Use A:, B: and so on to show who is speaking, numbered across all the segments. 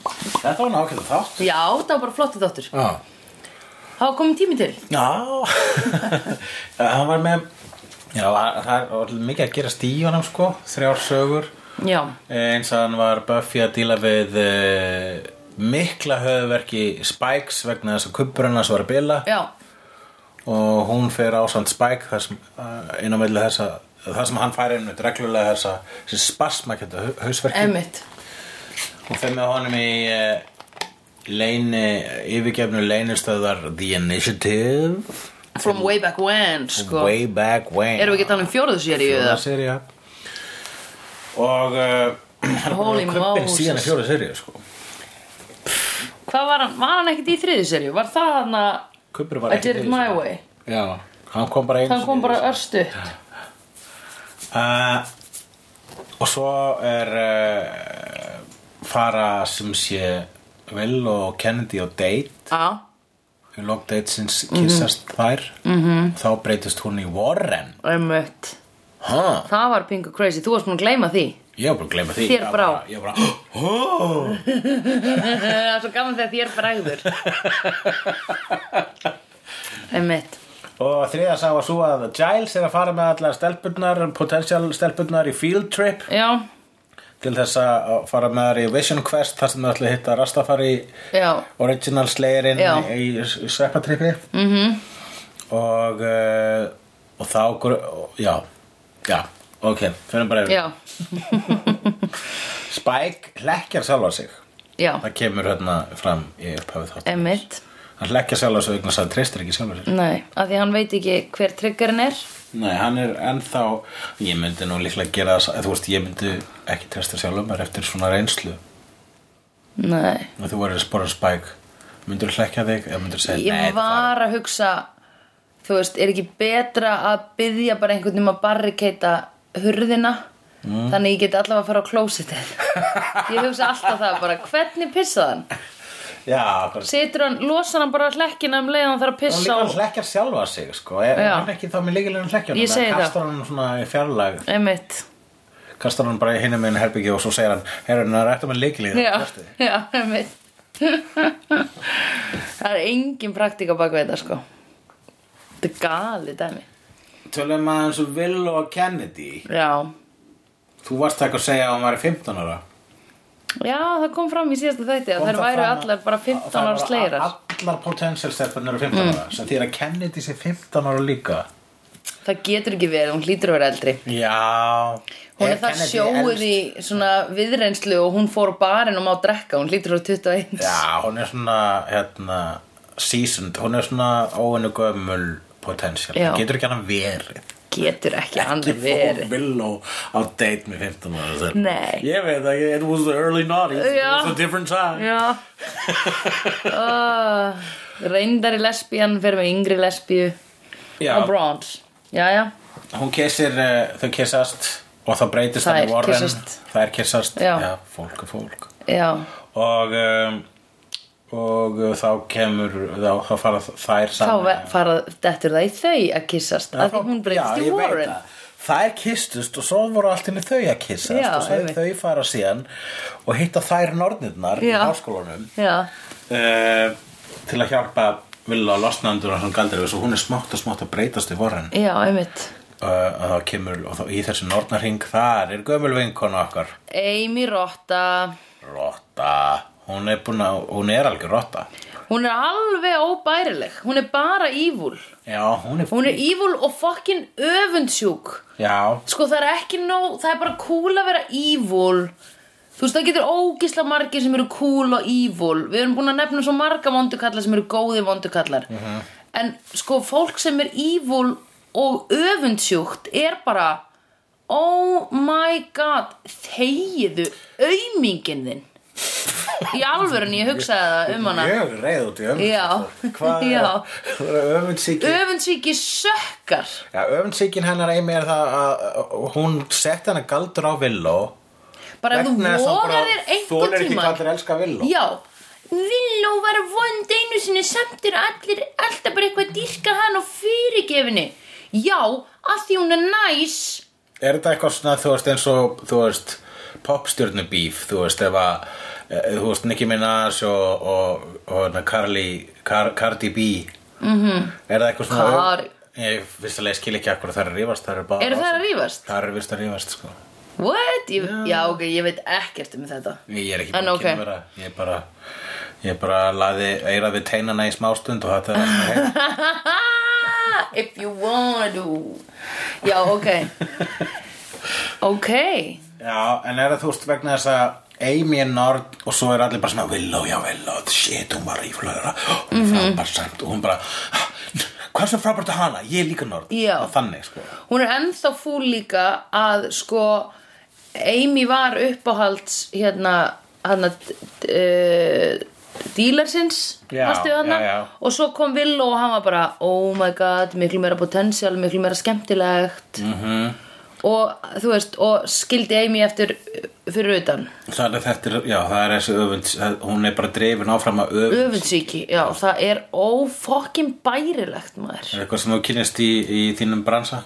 A: var nú ákveðið þátt.
B: Já, það var bara flottu þáttur.
A: Já.
B: Það var komin tími til.
A: Já. hann var með, já, það var mikið að gera stíunum sko, þrjár sögur. Eh,
B: Já,
A: Eins að hann var Buffy að díla við uh, mikla höfverki Spikes vegna þess að kubbur hennas var að bila.
B: já,
A: og hún fer ásand Spike þar sem, uh, inn á milli þessa þar sem hann fær einmitt reglulega þessa þessi spasma kjönda hausverki
B: emmitt.
A: og fer með honum í uh, leini, yfirgefnu leinistöðar The Initiative
B: From way back when, sko.
A: Way Back When
B: Erum við ekki að tala um fjórðu séri
A: Fjóra
B: eða?
A: sería og uh, hann er búinn
B: Holy
A: að kaupa inn
B: Moses.
A: síðan að fjóra seríu sko
B: Hvað var hann? Var hann ekkert í þriði serju? Var það hann að...
A: Kuppur var
B: I
A: ekki
B: did it my way.
A: Já, hann kom bara einu
B: Það kom
A: sinni í
B: bara
A: þessu.
B: örstuð.
A: Uh, og svo er uh, fara sem sé Will og Kennedy á date
B: Já,
A: í lók date sinns
B: Mhm.
A: kissast þær -hmm. þá breytist hún í Warren
B: emmitt.
A: ha,
B: Það var pingu crazy. Þú varst múin að gleyma því.
A: ég var bara að gleyma því
B: Þér
A: Ég var
B: brá.
A: bara- ég var bara, oh,
B: Það er svo gaman þegar þér bregður Einmitt
A: og þriða sá að svo að Giles er að fara með allar stelpurnar potential stelpurnar í field trip
B: Já,
A: til þess að fara með þær í Vision Quest þar sem þau ætla að hitta Rastafari
B: já,
A: original slayerinn
B: Já. Mhm.
A: í, í sveppatrippi mm -hmm. og uh, og þá gru- og- já, já, ok fyrir bara yfir,
B: já,
A: Spike hlekkjar sjálfa sig
B: já
A: það kemur hérna fram í upphafið þátt
B: Einmitt,
A: hann hlekkjar sjálfa sig vegna þess að hann treystir ekki sjálfa sig
B: nei, af því hann veit ekki hver triggerinn er
A: nei, hann er ennþá ég myndi nú líklega gera það sa- þú veist, ég myndi ekki treysta sjálfa mér eftir svona reynslu
B: Nei,
A: og þú verður að spora Spike myndur hlekkja þig eða myndur segja
B: ég
A: "Nei, það
B: var að hugsa Þú veist, er ekki betra að byðja bara einhvern um að barrikeita hurðina
A: Mm.
B: Þannig ég get allavega að fara á klósitið Ég hugsa alltaf það bara, hvernig pissa hann?
A: er-" já, hvað
B: Situr hann, losar hann bara á hlekkina um leið og hann þarf að
A: Hún
B: pissa
A: líka
B: og...
A: hlekkjar sjálfa sig sko er
B: Já.
A: hann ekki þá með líkilegum hlekkjar
B: Ég segi það.
A: kastar hann svona í fjarlæg
B: Einmitt
A: kastar hann bara í hinum einu herbyggju og svo segir hann herru, hann er um eftir með líkilegum
B: já, já, einmitt það er engin praktika bak við þetta sko þetta er gali dæmi
A: tölum að eins og Will og Kennedy
B: já,
A: þú varst ekki að segja að hann var 15 ára
B: já það kom fram í síðasta þætti að
A: Kom
B: þær
A: það
B: væru
A: fram að-
B: allar bara 15
A: að
B: ára
A: þær
B: sleirar Mm.
A: voru allar potential stelpurnar eru 15 ára sem því að Kennedy sé 15 ára líka
B: það getur ekki verið, hún hlýtur að vera eldri
A: já
B: hún er það
A: Kennedy
B: sjóið
A: elst?
B: í svona viðreynslu og hún fór á barinn og má drekka hún hlýtur að vera 21
A: já, hún er svona hérna, seasoned, hún er svona óinu gömul potential,
B: Já.
A: getur ekki hann verið
B: getur ekki
A: ekki fór
B: annað verið
A: Willow á date með 15 ára sér.
B: Nei.
A: Ég veit ekki, it was the early 90s,
B: Já.
A: it was a different time.
B: já
A: Ah.
B: uh, reyndari lesbían fyrir með yngri lesbíu
A: Já.
B: og bronze já, já,
A: Hún kissir, uh, þau kissast og þá breytist hann í
B: Þær
A: Warren.
B: kyssast.
A: Þær kissast.
B: Já.
A: fólk er fólk.
B: já
A: Og, um, og uh, þá kemur, þá, þá fara þær
B: þá
A: saman.
B: ve- fara dettur það í þau að kissast
A: Já,
B: af því
A: þá-
B: hún breytist
A: já,
B: í
A: ég veit
B: Warren
A: það. Þær kistust og svo voru allt inni þau að kissast
B: Já,
A: og svo
B: einmitt.
A: þau fara síðan og hitta þær nornirnar í
B: Já.
A: háskólanum.
B: já,
A: Eh, til að hjálpa Villa að losna undur hann galdur og hún er smátt og smátt að breytast í vorren uh,
B: já, einmitt
A: og þá kemur og þá, í þessu nornarhing þar er gömul vinkona okkar
B: Amy Rotta
A: Rotta hún er, búin að, hún er algjör rotta
B: hún er alveg óbærileg hún er bara evil
A: já, hún er,
B: hún er evil og fokkin öfundsjúk
A: já,
B: sko það er ekki nóg það er bara cool að vera evil þú veist það getur ógisla margir sem eru cool og evil við erum búin að nefna svo marga vondukallar sem eru góði vondukallar en sko fólk sem er evil og öfundsjúkt er bara oh my god þegiðu aumingin þinn í alvöru en ég hugsaði það um hana
A: mjög reið út í
B: Já.
A: öfndsíkin hvað
B: Já.
A: er öfundsíkin
B: öfundsvíki sökkar
A: Já, öfundsíkin hennar eimi er það að að hún setti hennar galdur á Villó
B: bara ef þú vogar þér einhvern
A: ekki
B: tíma
A: hvað þér elska Villó
B: Já, Villó var vond einu sinni samt er allir alltaf bara eitthvað að dýrka hann og fyrirgefinni. Já, að því hún er næs.
A: Er þetta eitthvað svona, þú veist, eins og, þú veist, popstjörnubíf, þú veist, ef að, eh, þú veist Nicki Minaj og, og, og, og Carly, Car, Cardi B mm -hmm.
B: Mhm.
A: er það eitthvað svona
B: Cardi.
A: ég fyrst að leið skil ekki akkur það er að rífast það er bara
B: Eru þær að rífast?
A: það er vist að rífast sko
B: What? Ég, já, ok, ég veit ekkert um þetta
A: ég er ekki
B: En
A: búin
B: ok.
A: að kynna vera ég bara ég bara laði eira við teinana í smástund og þetta er allt að heyra.
B: If you wanna do Já, ok Ok
A: já en er það þú veist vegna þess að Amy er nörd og svo er allir bara svona Willow, já Willow, shit, hún var ríflöðra hún er
B: Mhm.
A: frábær samt og hún bara "Ah, hvað er svo frábært að hana, ég er líka nörd
B: Já.
A: og þannig sko
B: Hún er ennþá fúl líka að sko Amy var uppáhalds hérna hérna uh, dílarsins
A: Já,
B: manstu þarna?
A: já, já.
B: og svo kom Willow og hann var bara oh my god, miklu meira potensial miklu meira skemmtilegt -hmm.
A: Mhm.
B: og þú veist, og skildi Amy eftir fyrir utan
A: Það er þetta, er- já, það er þessi öfunds, hún er bara dreifin áfram að öfund.
B: öfundsvíki, já, það er ófokkin bærilegt maður
A: Er eitthvað sem þú kynist í, í þínum bransa?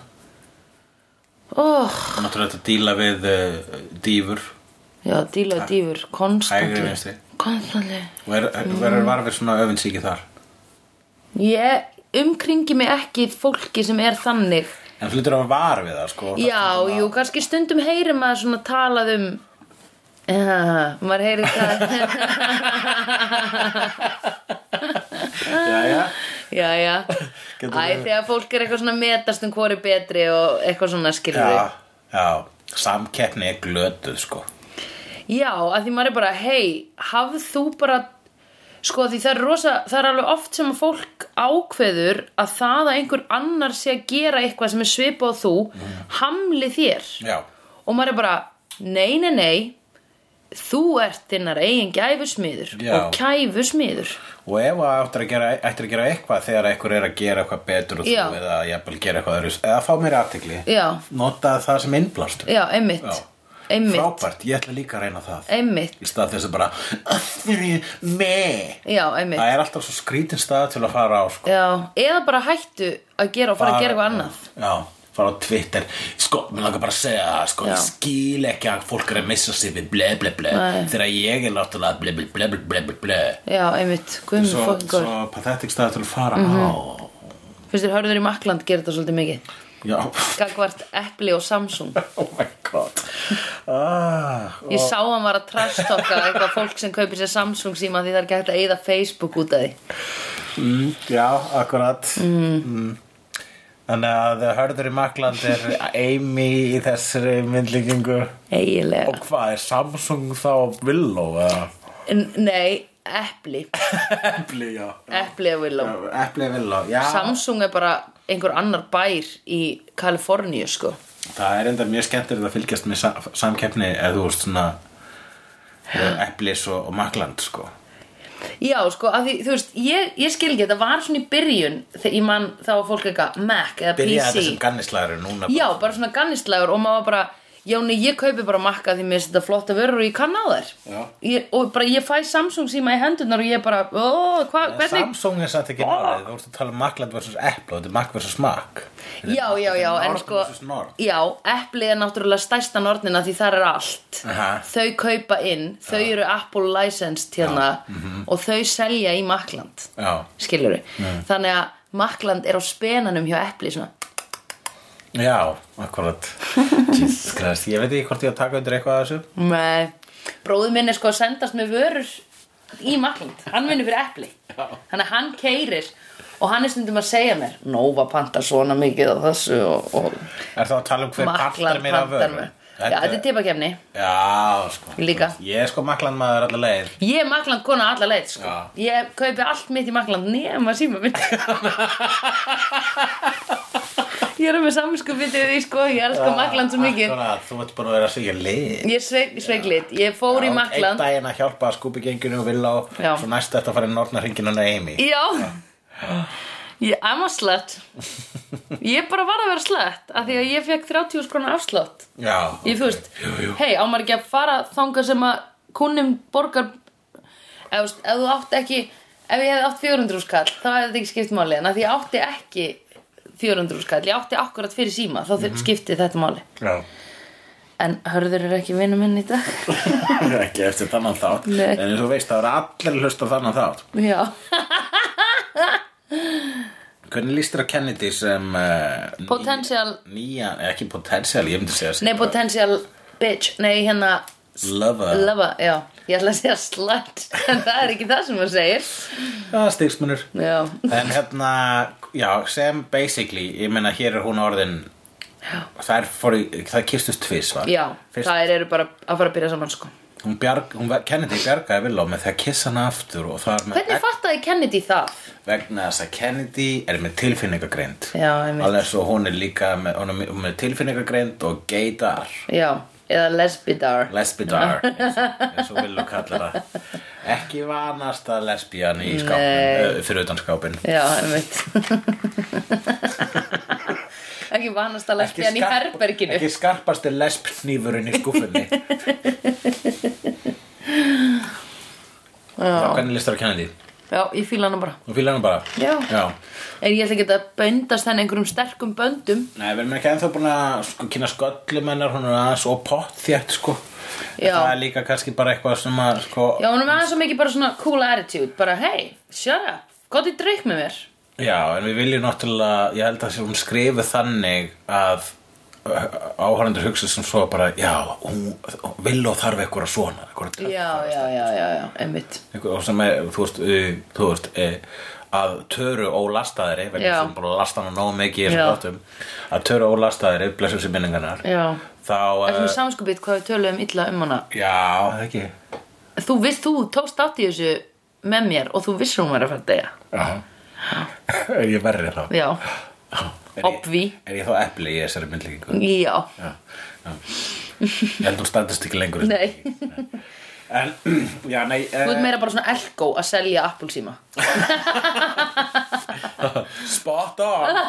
B: oh,
A: Náttúrulega þetta díla við uh, dýfur
B: já, díla og dýfur,
A: Hægri
B: konstantli
A: vinstri.
B: konstantli
A: og er, verður varfið svona öfundsíki þar.
B: ég umkringi mig ekki fólki sem er þannig
A: En þú lítur að var við það, sko.
B: já, jú, kannski stundum heyrir maður svona talað um Uh, maður heyrir það
A: Já, já.
B: já, já
A: Getur
B: Æ,
A: verið.
B: þegar fólk er eitthvað svona að metast um hvori betri og eitthvað svona skilur
A: Já, já. Samkeppni er glötuð, sko.
B: Já, að því maður er bara, hei, hafð þú bara, sko, því það er rosa, það er alveg oft sem að fólk ákveður að það að einhver annar sé að gera eitthvað sem er svipað á þú,
A: Mm.
B: hamli þér.
A: Já.
B: Og maður er bara, nei, nei, nei, þú ert þinnar eigin gæfusmiður
A: Já.
B: og kæfusmiður.
A: Og ef að áttir að gera, ættir að gera eitthvað þegar einhver er að gera eitthvað betur og þú
B: Já.
A: eða jafnvel gera eitthvað öðru, eða fá mér aftekli,
B: Já.
A: nota það sem innblástur.
B: Já, einmitt, einmitt,
A: Frábært, ég ætla líka að reyna það.
B: einmitt,
A: í stað þess að bara "Af hverju mig
B: já, einmitt.
A: það er alltaf svo skrítin stað til að fara á sko.
B: Já, eða bara hættu að gera og fara að gera eitthvað annað.
A: já, fara á Twitter sko, mér langar bara að segja það sko, ég skil ekki að fólk er að missa sig við ble ble ble
B: Nei.
A: þegar ég er náttúrulega ble ble ble ble ble ble ble
B: Já, einmitt, guðmur
A: svo,
B: fokkin góður.
A: svo pathetic stað til að fara
B: Mhm.
A: á
B: Finnst þér hörður í Makland gera þetta svolítið mikið?
A: já,
B: Gagvart Apple og Samsung.
A: oh my god ah,
B: Ég sá hann var að trastokka eitthvað fólk sem kaupir sér Samsung síma því það er ekki hægt að eyða Facebook út af því.
A: mm, já, akkurat mm.
B: Mhm.
A: Þannig að Hörður í Makland er Amy í þessari myndlíkingu
B: Eiginlega.
A: Og hvað er Samsung þá Willow eða?
B: N- Nei, Apple.
A: Apple, já.
B: Apple og Willow.
A: Apple Willow, já.
B: Samsung er bara einhver annar bær í Kaliforníu, sko.
A: það er enda mjög skemmtilegt að fylgjast með sam samkeppni eða þú veist svona eh, Apple's og, og Magland, sko.
B: Já, sko, að því, þú veist, ég, ég skil ekki, þetta var svona í byrjun þegar ég mann þá var fólk eitthvað Mac eða
A: Byrjaði
B: PC.
A: þetta sem gannislæður núna.
B: Já, bara svona gannislegur og maður var bara Já, nei, ég kaupi bara makka því mér finnst þetta flotta vörur og ég kann á þær
A: Já.
B: ég, Og bara ég fæ Samsung síma í hendunar og ég bara, ó, hva,
A: Hvernig?
B: hvernig
A: Samsung er satt ekki málið, þú veist að tala um Magland versus Apple og þetta er Mac versus Mac. Þetta er-
B: Já, já,
A: þetta er
B: já, en
A: Nord
B: sko
A: versus North.
B: Já, epli er náttúrulega stærsta nornina því þar er allt
A: Aha.
B: Þau kaupa inn, þau eru Apple licensed hérna og þau selja í Makland
A: Já,
B: Skilur við Þannig að Makland er á spenanum hjá epli svona
A: já, akkurat. Jesus Christ, ég veit ekki hvort ég á að taka undir eitthvað af þessu.
B: Nei, bróður minn er sko að sendast með vörur í Makland, hann vinnur fyrir epli þannig að hann keirir og hann er stundum að segja mér Nóva panta svona mikið af þessu og, og
A: Er það að tala um hver
B: Makland
A: partar mér af
B: pantar
A: vörum?
B: mér Já, þetta er tipakefni
A: Já, sko
B: Líka.
A: Ég er sko maklanmaður allar leið
B: Ég er Makland kona alla leið sko.
A: Já.
B: Ég kaupi allt mitt í Makland nema síma minn Ég er með saminsku fyrir því sko, ég elska Makland svo mikið
A: Akkúrat, Þú ert búin að vera að segja leið
B: Ég sveik, sveiklit, ég fór í
A: Einn
B: Makland
A: daginn að hjálpa skúpigenginu og vilja og
B: Já.
A: svo næst þetta að fara í nornarhinginu og neimi
B: Já Ég, I'm a slut Ég bara var að vera slut af því að ég fekk 30 skrona afslátt
A: Já
B: Ég þú veist,
A: Jú, jú
B: hei, ámar ekki að fara þangað sem að kunnum borgar ef, þú veist, ef þú átt ekki ef ég hefði átt 400 skall þá hefði þetta ekki skipt máli en að því ég átti
A: Mhm.
B: ekki 400 skall, ég átti akkurat fyrir síma þá mm skipti þetta máli
A: Já
B: En hörður er ekki vinnu minn í dag
A: ekki eftir þannan þátt
B: Nei.
A: en eins og þú veist það eru allir að hlusta á þannan þátt
B: Já
A: hvernig líst þér að Kennedy sem uh,
B: Potential-
A: nýja, ekki potential, ég myndi segja
B: Nei, potential bitch Nei, hérna
A: lover,
B: Lava, já, ég ætla að segja slut En það er ekki það sem þú segir
A: það er stigsmunur
B: Já,
A: en hérna, já, sem basically ég meina hér er hún orðin þær fóru, það kistust tvís var
B: já
A: Fyrst,
B: Það eru bara að fara að byrja saman sko
A: hún bjarg, hún, ver- Kennedy bjargaði Villó með því að kissa hana aftur og það er með
B: Hvernig fattaði Kennedy það?
A: vegna þess að Kennedy er með tilfinningagreind
B: Já, einmitt
A: alveg svo hún er líka með, hún er með- með tilfinningagreind og gaydar
B: Já, eða lesbidar
A: lesbidar eins eins og villu kalla það ekki vanast að lesbían í skápin
B: Nei.
A: uh, fyrir utan skápin
B: Já, einmitt Ekki vanast að
A: Ekki
B: lesbían í
A: skarp-
B: herberginu
A: ekki skarpasti lesbnýfurinn í skúfunni þá hvernig listar að kenna því
B: Já, ég fíla hana bara
A: þú fílar hann bara
B: Já.
A: Já.
B: En ég ætla ekki að böndast henni einhverjum sterkum böndum
A: Nei, við erum ekki ennþá búin að sko, kynna sköllum hennar, hún er aðeins og pott þétt, sko.
B: Já.
A: Það er líka kannski bara eitthvað sem að, sko,
B: Já, hún er með aðeins svo mikið bara svona cool attitude Bara, hey, shut up, gott í dreik með mér
A: Já, en við viljum náttúrulega, ég held að sé hún skrifu þannig að áhærendur hugsa sem svo bara, já, hún vil og þarf eitthvað svona, eitthvað
B: Já, já, já, já, já, einmitt
A: og sem er, þú veist, uh, þú veist uh, að töru ólastaðri vegna
B: Já.
A: sem bara lasta hana nóg mikið í
B: Já.
A: þessum þáttum, að töru ólastaðri blessum sér minningarnar
B: Já.
A: þá,
B: Ertu með
A: uh,
B: samskupið hvað við töluðum illa um hana
A: já, það ekki
B: Þú veist, þú tókst átt í þessu með mér og þú vissir hún var að fara að deyja
A: já er ég verri þá
B: Já,
A: Er ég-
B: Obvi.
A: er ég þá epli í þessari myndlíkingu
B: já,
A: já, já. ég held hún standast ekki lengur
B: nei
A: En, já, nei,
B: Þú ert
A: uh,
B: meira bara svona elko að selja appulsíma
A: spot on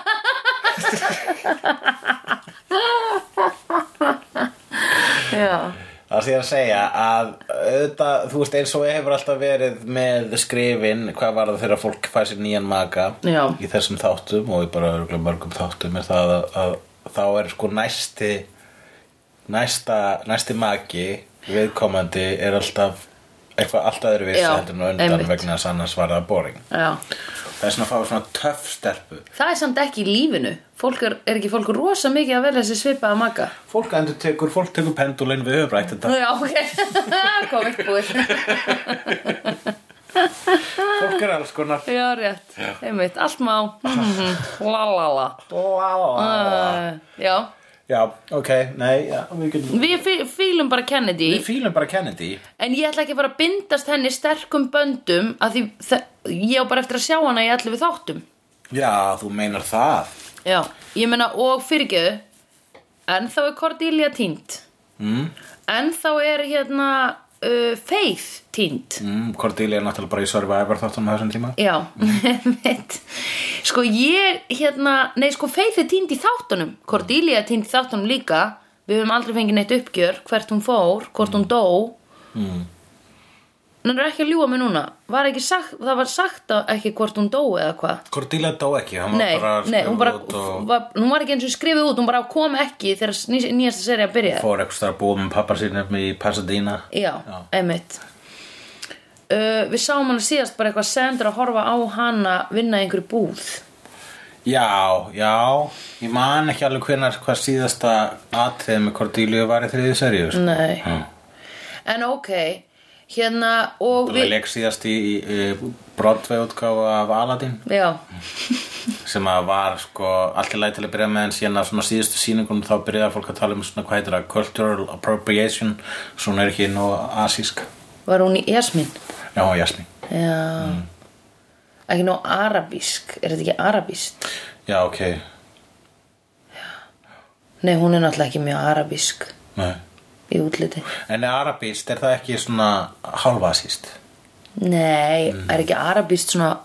B: Já,
A: Það sé ég að segja að auðvitað, þú veist eins og hefur alltaf verið með skrifin, hvað var það þegar fólk fær sér nýjan maka
B: Já.
A: í þessum þáttum og í bara örugglega mörgum þáttum er það að, að þá er sko næsti næsta, næsti maki viðkomandi er alltaf eitthvað alltaf eru vissi
B: Já,
A: heldur nú undan
B: einmitt.
A: vegna þess að annars var það boring
B: já
A: það er svona að fá svona töff stelpu
B: Það er samt ekki í lífinu Fólk er, er ekki fólk rosa mikið að velja sér svipaða maka
A: fólk endur tekur, fólk tekur pendulinn við höfum rætt þetta
B: Já, ok, komið búið
A: fólk er alls konar
B: Já, rétt, einmitt, allt má Mhm. La la la
A: Ah.
B: Uh, Já,
A: Já, ok, nei, já, við getum
B: við fí- fílum bara Kennedy
A: Við fílum bara Kennedy
B: En ég ætla ekki að fara að bindast henni sterkum böndum að því þe- ég á bara eftir að sjá hana í allir við þáttum.
A: Já, þú meinar það
B: Já. Ég meina, og fyrirgeðu, en þá er Cordelia tínt. Mm. En þá er hérna uh, Faith tínt.
A: mm, Cordelia er náttúrulega bara í Survivor þáttunum á þessum tíma
B: Já, mitt. Sko ég, hérna, nei sko Faith er tínt í þáttunum, Cordelia er tínt í þáttunum líka. Við höfum aldrei fengið neitt uppgjör, hvert hún fór, hvort hún dó. Mm. Hún er ekki að ljúga mig núna. Var ekki sagt, það var sagt að- ekki hvort hún dó eða hvað.
A: Cordelia dó ekki, hann
B: Nei,
A: var bara
B: nei, hún bara,
A: skrifuð út
B: var, hún var ekki eins og skrifið út, hún bara kom ekki þegar ný- nýjasta serið að
A: og
B: byrja.
A: fór eitthvað að búa með pappa sínum í Pasadena
B: Já,
A: Já.
B: einmitt uh, Við sáum hana síðast bara eitthvað sendur að horfa á hana vinna í einhverju búð
A: Já, já, ég man ekki alveg hvenær hvað síðasta atrið með Cordelia var í þriðið seríu sko.
B: Nei
A: Já.
B: En ok, hérna og
A: Það
B: við
A: leik síðast í, í, í Broadway útgáfa af Aladdin
B: Já,
A: sem að var sko allt í lagi til að byrja með en síðan að svona síðustu sýningunum þá byrjaði fólk að tala um svona hvað heitir það cultural appropriation svona er ekki nú asísk
B: var hún í Jasmín
A: já, jasni
B: Já
A: Mm.
B: Ekki nóg arabísk, er þetta ekki arabísk?
A: já, ok,
B: Nei, hún er náttúrulega ekki mjög arabísk
A: nei
B: í útliti
A: en er arabist, er það ekki svona hálfasíst?
B: Nei, er ekki arabískt svona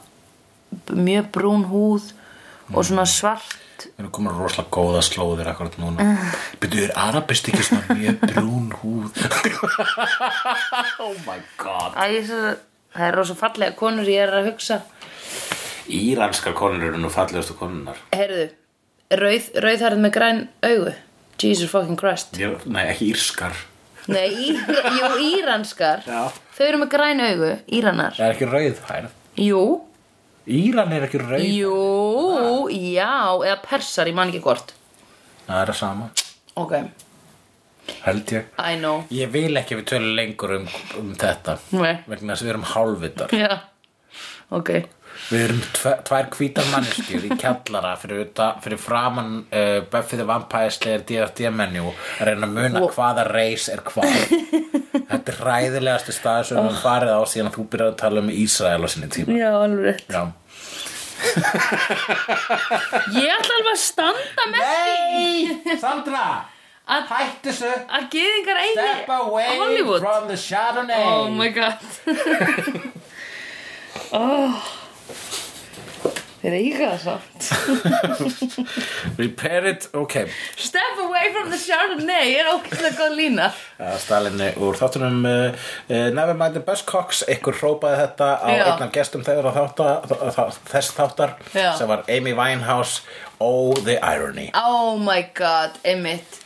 B: b- mjög brún húð og svona svart
A: við erum komin á rosalega góða slóðir akkurat núna byrju, er arabist ekki svona mjög brún húð? oh my god
B: Æ, ég svo- það er rosa fallega konur ég er að hugsa
A: íranskar konur eru nú fallegustu konunar
B: Heyrðu, rauð, rauðhærið með græn augu Jesus fucking Christ
A: Ég, nei, ekki írskar
B: Nei, í, jú, íranskar
A: Já.
B: Þau eru með græn augu, íranar
A: Það er ekki rauðhærð
B: Jú,
A: Íran er ekki rauð
B: jú, já Eða persar, ég man ekki hvort
A: Það er að sama,
B: Ok,
A: held ég
B: I know
A: Ég vil ekki að við tölum lengur um, um þetta
B: Nei.
A: vegna þess að við erum hálfvitar
B: Já, ok
A: Við erum tve, tvær hvítar manneskjur í kjallara fyrir, uta, fyrir framan uh, Buffy the Vampire Slayer D.F.D. menjú að reyna að muna hvaða reis er hvað Þetta er ræðilegasti staður sem við höfum farið á síðan þú byrjar að tala um Ísrael á sinni tíma
B: Já, alveg rétt
A: Já.
B: Ég ætla alveg að standa með því
A: Nei, Sandra
B: Að-
A: Hættu þessu
B: Að geðingar eigi Hollywood
A: the Chardonnay
B: Oh my god oh. Þeir eiga það samt
A: Repair it, ok
B: Step away from the Chardonnay er ókvæmlega góð lína
A: að Stalinni Eh, úr þáttunum uh, uh, Nevermind the Buzzcocks ykkur hrópaði þetta á
B: Já.
A: einn af gestum þegar á þátta, þ- þ- þess þáttar
B: Já.
A: sem var Amy Winehouse Oh the Irony
B: Oh my god, einmitt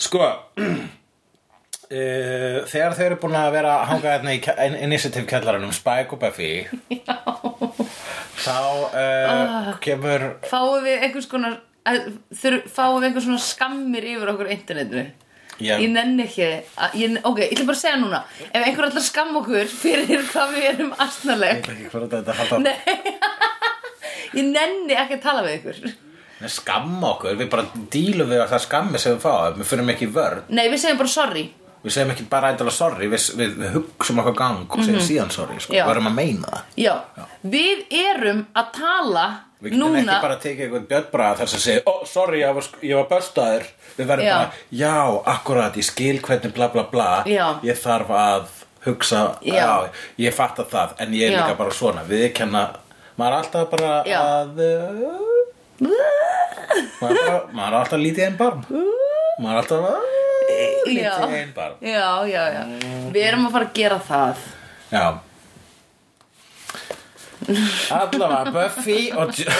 A: Sko uh, þegar þau eru búin að vera að hanga hérna í ke- in- initiative kjallaranum Spike og Buffy Já. þá
B: Ah.
A: uh, kemur
B: Fáum við einhvers konar að- þur- Fáum við einhvers svona skammir yfir okkur á internetinu
A: Já.
B: Ég nenni ekki að, ég, Ok, ég ætla bara að segja núna Ef einhver ætlar að skamma okkur fyrir hvað við erum astnaleg
A: Ég fór að þetta halda-
B: Nei Ég nenni ekki að tala við ykkur
A: Nei, skamma okkur, við bara dílum við að það skammi sem við fáum, við fyrir ekki í vörn
B: Nei, við segjum bara sorry
A: Við segjum ekki bara eitthvað sorry, við, við, við hugsum okkar gang og segjum síðan sorry, sko,
B: Mhm. Já.
A: við erum að meina það.
B: Já, við erum að tala
A: Við getum
B: núna
A: ekki bara að tekið eitthvað björnbraða þar sem segir, ó, oh, sorry, ég var, sk- ég var börstaður. Við verðum
B: Já.
A: bara, já, akkurat, ég skil hvernig bla bla bla,
B: Já.
A: ég þarf að hugsa,
B: Já.
A: ég fatta það, en ég er
B: Já.
A: líka bara svona, við kenna, maður er alltaf bara
B: Já.
A: að, uh, maður, er bara, maður er alltaf lítið einn barm, maður er alltaf að, eh,
B: Já.
A: lítið einn barm.
B: Já, já, já Við erum að fara að gera það
A: Já Allavega Buffy og, Jo-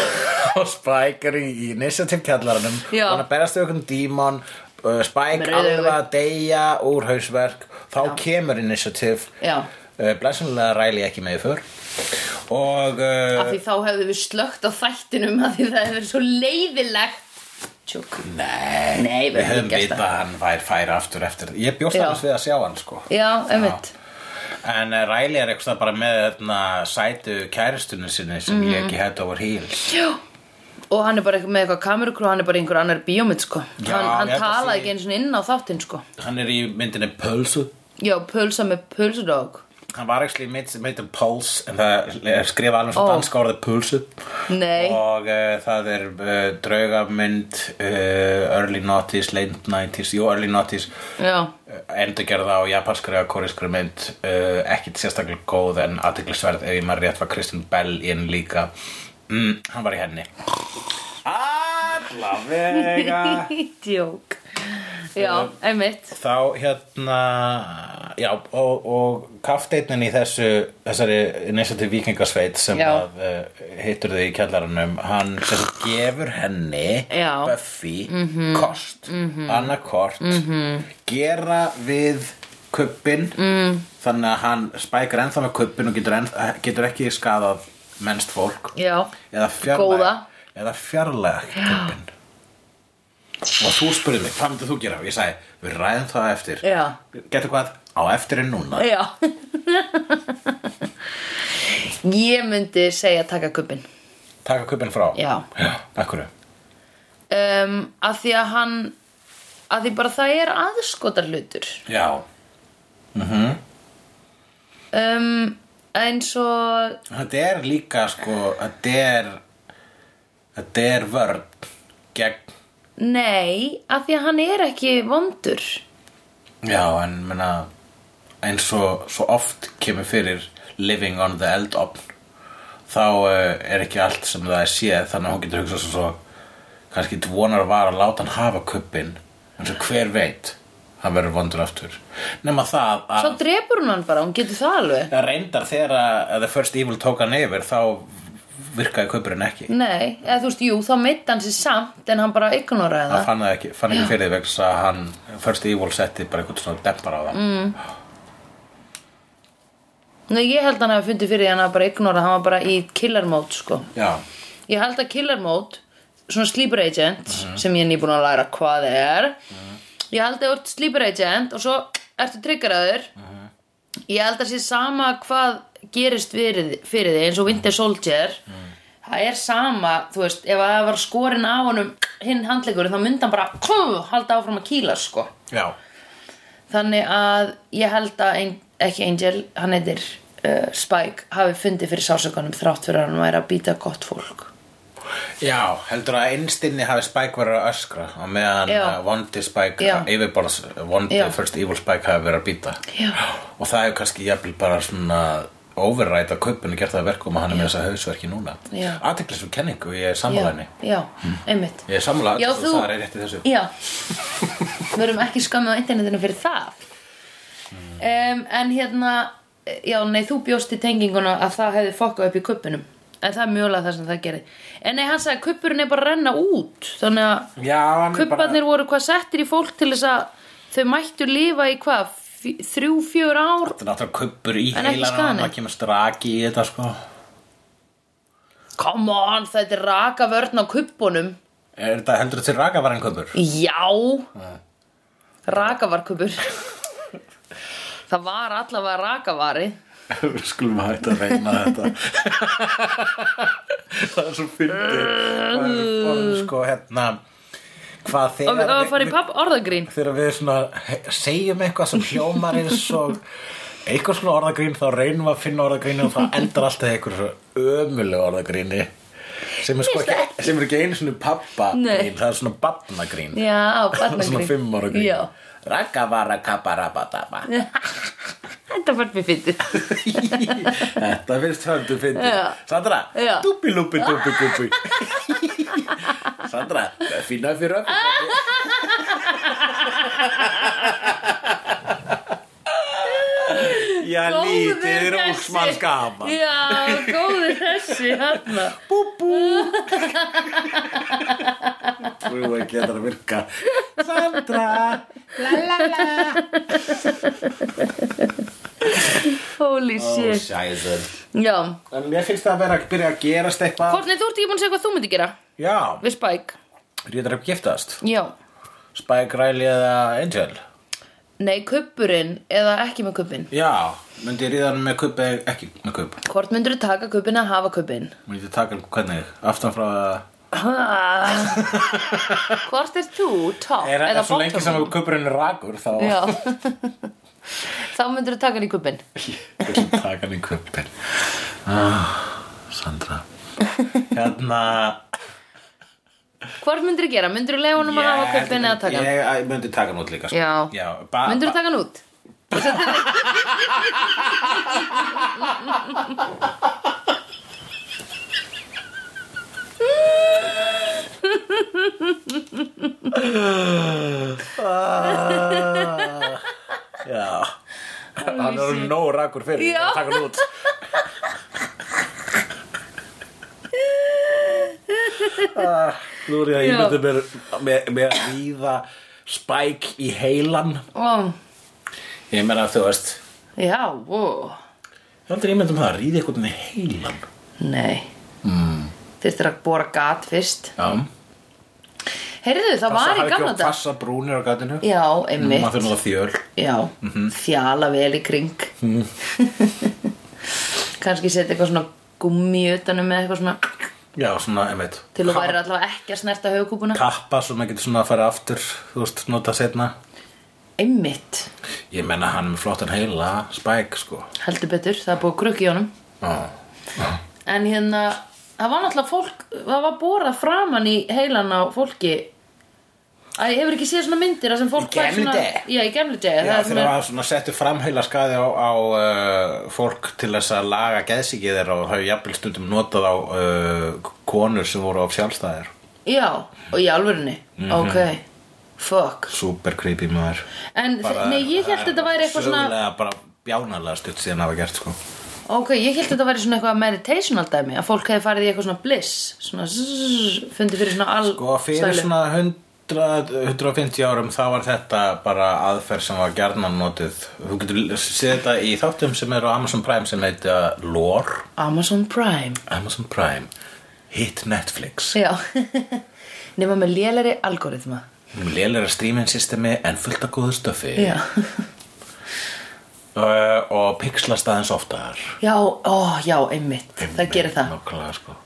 A: og Spike eru í initiative kjallaranum
B: Já.
A: Þannig að berast við okkur um dímon uh, Spike
B: Með rauðu
A: alveg
B: augun.
A: að deyja úr hausverk Þá kemur initiative
B: Já.
A: uh, Blessunlega ræli ekki með í för Og
B: Af
A: uh,
B: því þá hefðum við slögt á þættinum af því það hefur verið svo leiðilegt Tjók
A: Nei,
B: Ah. Nei, við
A: við
B: höfum
A: höfum
B: gert
A: vitað
B: það.
A: að hann væri færi aftur eftir Ég bjóst
B: Já.
A: alveg við að sjá hann sko
B: Já, einmitt
A: En uh, Riley er eitthvað bara með þarna, sætu kæristunni sinni sem
B: Mhm.
A: mm. ég ekki head over heels
B: Já Og hann er bara eitthvað með eitthvað kamerukrú, hann er bara einhver annar bíómynd, sko.
A: Já,
B: hann hann
A: ég held að
B: talaði
A: því-
B: ekki einu svona inn á þáttinn, sko.
A: Hann er í myndinni Pulsu
B: Já, pulsa með pulsadog.
A: Hann var ekki meitt, meitt um Pulse en það er skrifa alveg svo
B: Ó.
A: danska orðið Pulse
B: Nei.
A: og uh, það er uh, draugamynd uh, early 90s, late 90s jú, early 90s
B: Já.
A: uh, endurgerða á japanskri og kóriskri mynd uh, ekkit sérstaklega góð en aðtiklisverð ef ég maður rétt var Kristen Bell í henni líka mm, hann var í henni Allavega
B: Djók. Já,
A: Eh.
B: einmitt.
A: þá hérna já, og, og kafteinnin í þessu þessari initiative vikingasveit sem
B: Já.
A: að uh, hittur þau í kjallaranum hann sem sagt gefur henni
B: Já. Mhm.
A: Buffy kost, annarkort gera við kubbin mm. þannig að hann spækar ennþá með kubbin og getur, enn, getur ekki skadað mennst fólk
B: Já.
A: eða fjarlæg
B: Góða.
A: eða fjarlæg kubbin og þú spurði mig, hvað myndir þú gera? og ég sagði, við ræðum það á eftir
B: Já.
A: getur hvað, á eftir en núna
B: Já. Ég myndi segja taka kubbin.
A: taka kubbin frá
B: Já.
A: já akkurru
B: Um, að því að hann, að því bara það er aðskotar hlutur.
A: já,
B: Um, eins og,
A: þetta er líka sko, þetta er þetta er vörn gegn,
B: nei, að því að hann er ekki vondur.
A: já en menna eins og svo oft kemur fyrir living on the eldopn þá uh, er ekki allt sem það er séð þannig að hún getur hugsað sem svo kannski dvonar var að láta hann hafa kubbin en svo hver veit hann verður vondur aftur nema það að
B: Svo drepur hún hann bara, hún getur það alveg.
A: Já, reyndar þegar að The First Evil tók hann yfir þá virkaði kaupurinn ekki
B: Nei, eða þú veist, jú, þá meitt hann sér samt en hann bara
A: hann
B: ignoraði það
A: fann það ekki, fann ekki fyrir því vegna þess að hann first evil setti bara einhvern svona dempar á það mm.
B: Nei, ég held hann hafi fundið fyrir því að hann hafi bara ignorað hann var bara í killer mode, sko
A: já,
B: Ég held að killer mode, svona sleeper agent sem ég er nýbúin að læra hvað er Ég held að þú ert sleeper agent og svo ertu triggeraður Ég held að sé sama hvað gerist fyrir, fyrir því eins og Winter Soldier Það er sama, þú veist, ef að það var skorinn af honum hinn handleikur þá myndi hann bara kú, halda áfram að kýla, sko
A: já,
B: Þannig að ég held að ein, ekki Angel, hann heitir uh, Spike, hafi fundið fyrir sásökanum þrátt fyrir að hann væri að býta gott fólk.
A: já heldur að einstinni hafi Spike verið að öskra og meðan
B: Já.
A: uh, vondi Spike
B: Já.
A: yfirborðs, vondi
B: Já.
A: first evil Spike hafi verið að býta
B: Já.
A: og það hefur kannski jafnvel bara svona overræta kaupinu gert það að verkum að hann er með þess að hausverki núna
B: Já.
A: aðteklisum kenningu, ég er sammálaðinni
B: Já, já einmitt.
A: ég er sammálaðinni,
B: Já, þú-
A: það er rétt í þessu
B: Já, við erum ekki skamið á internetinu fyrir það. Um, en hérna, já, nei, þú bjóst í tenginguna að það hefði fokkað upp í kuppinum. En það er mjögulega það sem það gerði. En nei, hann sagði að kuppurinn er bara að renna út. Þannig að...
A: já, hann er bara
B: Kubbarnir voru hvað settir í fólk til þess að þau mættu lifa í hvað, fj- þrjú, fjör ár?
A: þetta er náttúrulega kaupur í
B: En ekki
A: heilanum,
B: skaðinn.
A: það kemur straki í þetta sko
B: Come on, þetta er raka vörn á kubbunum.
A: Er þetta heldur þetta til rakavarinn kaupur?
B: Já, raka var kubbur. Það var allavega rakavari.
A: Við skulum hægt að reyna þetta Það er svo fyndið Sko hérna Hvað
B: Og við
A: þegar
B: varum að fara í papp orðagrín.
A: Þegar við svona he- segjum eitthvað sem hljómar eins og eitthvað svona orðagrín þá reynum við að finna orðagrín og það endar alltaf í eitthvað svona ömuleg orðagríni sem er, sko
B: Finnst það
A: ekki, sem er ekki einu svona pappa
B: Nei.
A: það er svona barnagrín
B: Já,
A: það er
B: barnagrín.
A: svona fimm ára grín
B: Já,
A: Rakavara kabarabadaba
B: þetta var mér fyndið.
A: Þetta finnst höndu fyndi
B: Já.
A: Sandra,
B: Já.
A: dúpi lúpi dúpi gúpi Sandra, það er fína fyrir öfni Já, lítið rúsmann skama
B: Já, góður þessi, hérna.
A: Bú bú Þú ekki að það að virka Sandra La la la
B: Holy
A: Ó,
B: shit.
A: sæður
B: Já,
A: En mér finnst það að vera að byrja að gerast eitthvað
B: Kornið, þú ert ekki búin að segja hvað þú myndi gera
A: Já,
B: við Spike.
A: ríðar upp giftast
B: Já.
A: Spike Riley eða Angel
B: Nei, kuppurinn eða ekki með kuppin
A: Já, myndi ég ríða hann með kubb eða ekki með kubb
B: Hvort myndur þú taka kuppin að hafa kuppin?
A: Myndi ég taka hann hvernig, aftan frá að
B: Hvort er þú? Top
A: er, er
B: eða
A: Svo lengi sem
B: bottom?
A: kubburinn er rakur þá
B: Já Þá myndur þú taka hann í kuppin
A: Ég vil taka hann í kubbin ah, Sandra Hérna
B: Hvort myndur þú gera? Myndur þú leiða honum að hafa kuppin eða taka hann?
A: Ég ég myndi taka hann út líka sko.
B: Já.
A: Já ba,
B: Myndur
A: ba,
B: þú taka hann út?
A: Ah. Já Hann er orðinn nóg rakur fyrir ég
B: Já.
A: bara Taka hann út ah, Nú er ég að
B: Já.
A: ímynda mér með, með að ríða spæk í heilan
B: Ó,
A: Ég meina þú veist
B: já, ó
A: Ég aldrei ímynda um það, ríða eitthvað með heilan
B: Nei mm. Þyrftir að bora gat fyrst
A: Já
B: Heyrðu, það var í gamla dag
A: Passa brúnir á gatinu
B: Já, einmitt
A: Maður Mhm. þurfum það þjöl
B: Já, þjala vel í kring
A: Mm.
B: Kannski setja eitthvað svona gummi utanum með eitthvað svona
A: Já, svona, einmitt
B: til þú væri allavega ekki að snerta höfukúpuna
A: Kappa, svo maður getur svona að fara aftur Þú veist, nota setna
B: Einmitt,
A: Ég menna hann er með flottan heila Spæk, sko
B: heldur betur, það er búið krukk í honum
A: Já,
B: En hérna, það var náttúrulega fólk það var borað framan í heilan á fólki Æ, ég hefur ekki séð svona myndir þar sem fólk
A: Í
B: fær
A: gamla
B: svona,
A: daga?
B: Já, í gemlu degi
A: Já, þeir hafa svona settu framheila skaði á, á uh, fólk til þess að laga geðsikið þeirra og hafa jafnvel stundum notað á uh, konur sem voru á sjálfstæðir.
B: já, og í alvörinni
A: Mhm.
B: Ok, fuck
A: Super creepy maður.
B: En, bara, nei, ég held þetta væri eitthvað svona
A: Sögulega bara bjánalega stutt síðan hafa gert sko.
B: Ó, ok, ég held þetta að vera svona eitthvað meditational dæmi, að fólk hefði farið í eitthvað svona bliss, svona zzz, fundið fyrir svona all
A: Sko fyrir
B: sælu.
A: svona 100, 150 árum þá var þetta bara aðferð sem var gjarnan notið Þú getur séð þetta í þáttum sem eru á Amazon Prime sem heita Lore
B: Amazon Prime
A: Amazon Prime Hit Netflix
B: Já, nema með lélæri algoritma
A: Lélæra streaming systemi en fullt af góðu stöfi
B: Já,
A: uh, Og pixlast aðeins oftar
B: já, ó, já, einmitt, það gerir það
A: Nókulega sko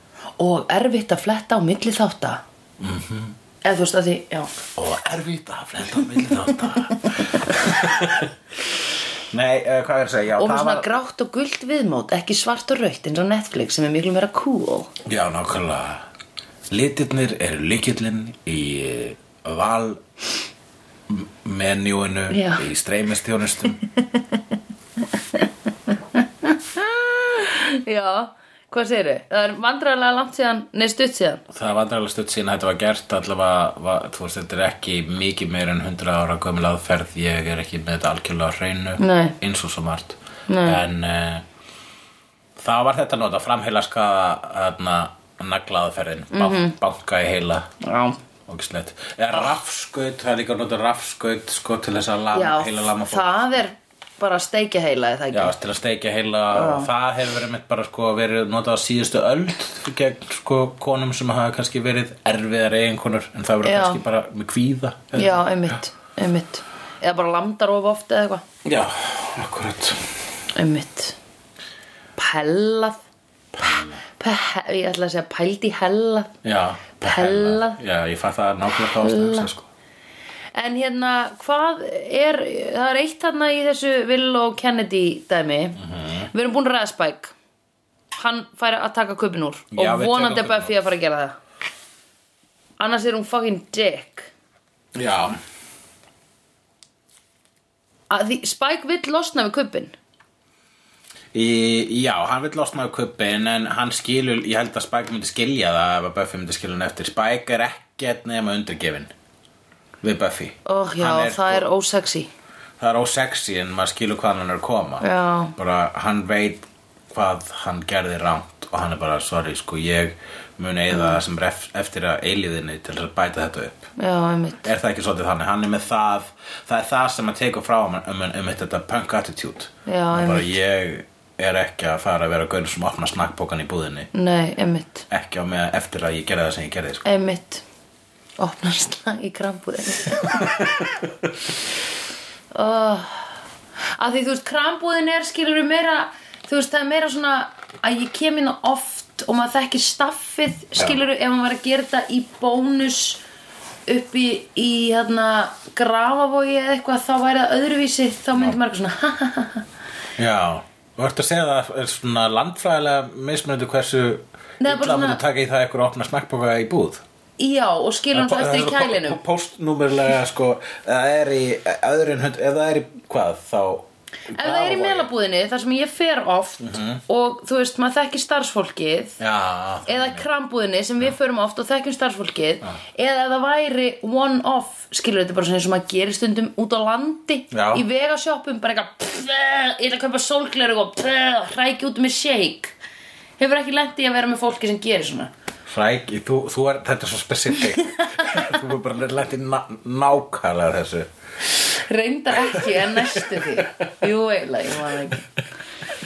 B: Og erfitt að fletta á milli þátta mm
A: Mhm.
B: Eða þú veist að því, já
A: og erfitt að flenda á milli þáttar Nei, uh, hvað er að segja? Já,
B: Og með
A: það
B: svona
A: var-
B: grátt og gult viðmót, ekki svart og rautt eins og Netflix sem er miklu meira cool
A: Já, nákvæmlega Litirnir eru likillinn í eh, val m- menjúinu
B: Já.
A: í streymistjónustum
B: Já, hvað segirðu? Það er vandræðarlega langt síðan, nei stutt síðan
A: Það var andrarlega stödd síðan þetta var gert allavega, var, þú veist, þetta er ekki mikið meir en 100 ára gömul aðferð ég er ekki með þetta algjörlega á hreinu
B: Nei.
A: eins og svo margt Nei. en uh, það var þetta nota framheila skaða naglaðferðin, mm banka í heila
B: Já
A: ógislegt, eða rafskaut það er líka að nota rafskaut sko til þess að lama, heila lama fólk
B: það er bara steikja heila er það
A: Já,
B: ekki
A: til að steikja heila og það hefur verið mitt bara sko verið notað á síðustu öld gegn sko konum sem hafa kannski verið erfiðar eiginkonur en það verið
B: Já.
A: kannski bara með kvíða
B: Já, einmitt, einmitt Eða bara landar of oft eða eitthvað
A: Já, akkurat
B: Einmitt Pellað Pe Ég ætla að segja pæld í hellað
A: Já,
B: Pella.
A: Já, ég fæ það nákvæmlega hvað ástæðum sem sko
B: En hérna, hvað er Það er eitt þarna í þessu Will og Kennedy dæmi
A: Mhm.
B: Við erum búin að ræða Spike Hann færi að taka kubin úr
A: Já,
B: Og
A: við
B: vonandi
A: tökum
B: er Buffy að fara að gera það Annars er hún fucking dick
A: Já,
B: að því Spike vill losna við kubbin
A: í, já, hann vil losnaðu kubbin en hann skilur, ég held að Spike myndi skilja það ef að Buffy myndi skilja hann eftir Spike er ekkert nema undirgefin við Buffy
B: oh, já,
A: Hann sko-
B: það er ósexy
A: það er ósexy en maður skilur hvað hann er að koma
B: Já.
A: bara hann veit hvað hann gerði rámt og hann er bara sorry sko ég mun eða það sem er ef- eftir að eilíðinni til þess að bæta þetta upp
B: já, einmitt
A: er það ekki svolítið þannig, hann er með það það er það sem að teka frá um, um, um þetta punk attitude
B: Já,
A: Hann bara,
B: einmitt.
A: ég er ekki að fara að vera gaur sem opna snakkbókan í búðinni
B: nei, einmitt,
A: ekki á með eftir að ég gerði það sem ég gerði sko.
B: einmitt opnar slag í krambúðinni oh. að því þú veist krambúðin er skilur meira þú veist það er meira svona að ég kem inn oft og maður þekkir staffið skilur ef maður var að gera þetta í bónus upp í, í hérna grafavogi eða eitthvað þá væri það öðruvísi þá myndi maður eitthvað svona ha ha ha ha
A: já, og ertu að segja það er svona landfræðilega mismunandi hversu
B: Nei, bara
A: illa
B: svona-
A: myndu taka í það eitthvað að opna snakkbóka í búð
B: Já, og skilur hann svo
A: Það er
B: eftir í
A: svo
B: kælinum
A: po- Postnúmerlega sko Það er í öðru en hund Ef það er í hvað þá
B: Ef það er í melabúðinni, þar sem ég fer oft og þú veist, maður þekkir starfsfólkið
A: Mhm. Já
B: eða krambúðinni sem við förum oft og þekkjum starfsfólkið eða ef það væri one-off skilur þetta bara svona eins og maður gerir stundum út á landi
A: Já.
B: í vegasjoppum bara eitthvað pff, ég ætla að kaupa sólgleru og pff, hræki út með shake hefur ekki lent í að vera með fólki sem gerir svona
A: Fræk, þú, þú er, þetta er svo specific Þú er bara lent í ná- nákvæmlega þessu
B: Reyndar ekki, en næstu því Jú, eiginlega, ég var ekki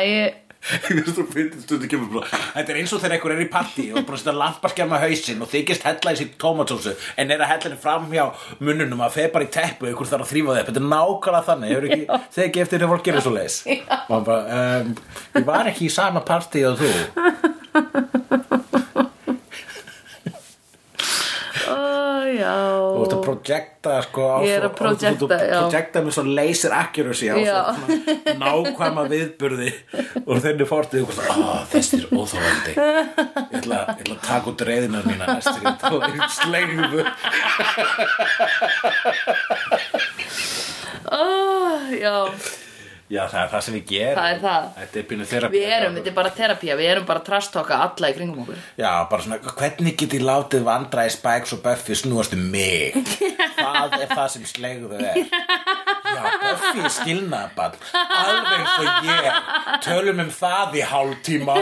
B: Æ,
A: Þú veist, þú finnir stundu kemur bara Þetta er eins og þegar einhver er í partí og bara setja lamparskjama hausinn og þykist hella í sig tomatsósu en er að hella henni fram hjá munnunum að feð bara í teppu og einhver þarf að þrýfa þeim Þetta er nákvæmlega þannig, hefur ekki þegi eftir þegar fólk gerir svo leis Man bara, um, ég var ekki í sama partí og þú
B: Ó, já
A: Þú ert að projekta sko á
B: Ég er
A: svo-
B: að projekta,
A: þú- Þú
B: já.
A: projekta með svo laser accuracy á
B: Já.
A: svo svona nákvæma viðburði og þenni fórtið og svona, "Ah, þessi er óþólandi Ég ætla, ég ætla að taka út reyðina mína næstir í tóðum sleifu
B: oh, Já,
A: Já, það er það sem við gerum
B: Það er það.
A: Þetta er pínu þeirra
B: við erum, þetta er bara terapía Við erum bara að trastokka alla í kringum okkur
A: Já, bara svona, hvernig get ég látið vandræði Spikes og Buffy snúast um mig? það er það sem sleigu þau er Já, Buffy er skilnaðaball Alveg eins og ég Tölum um það í hálftíma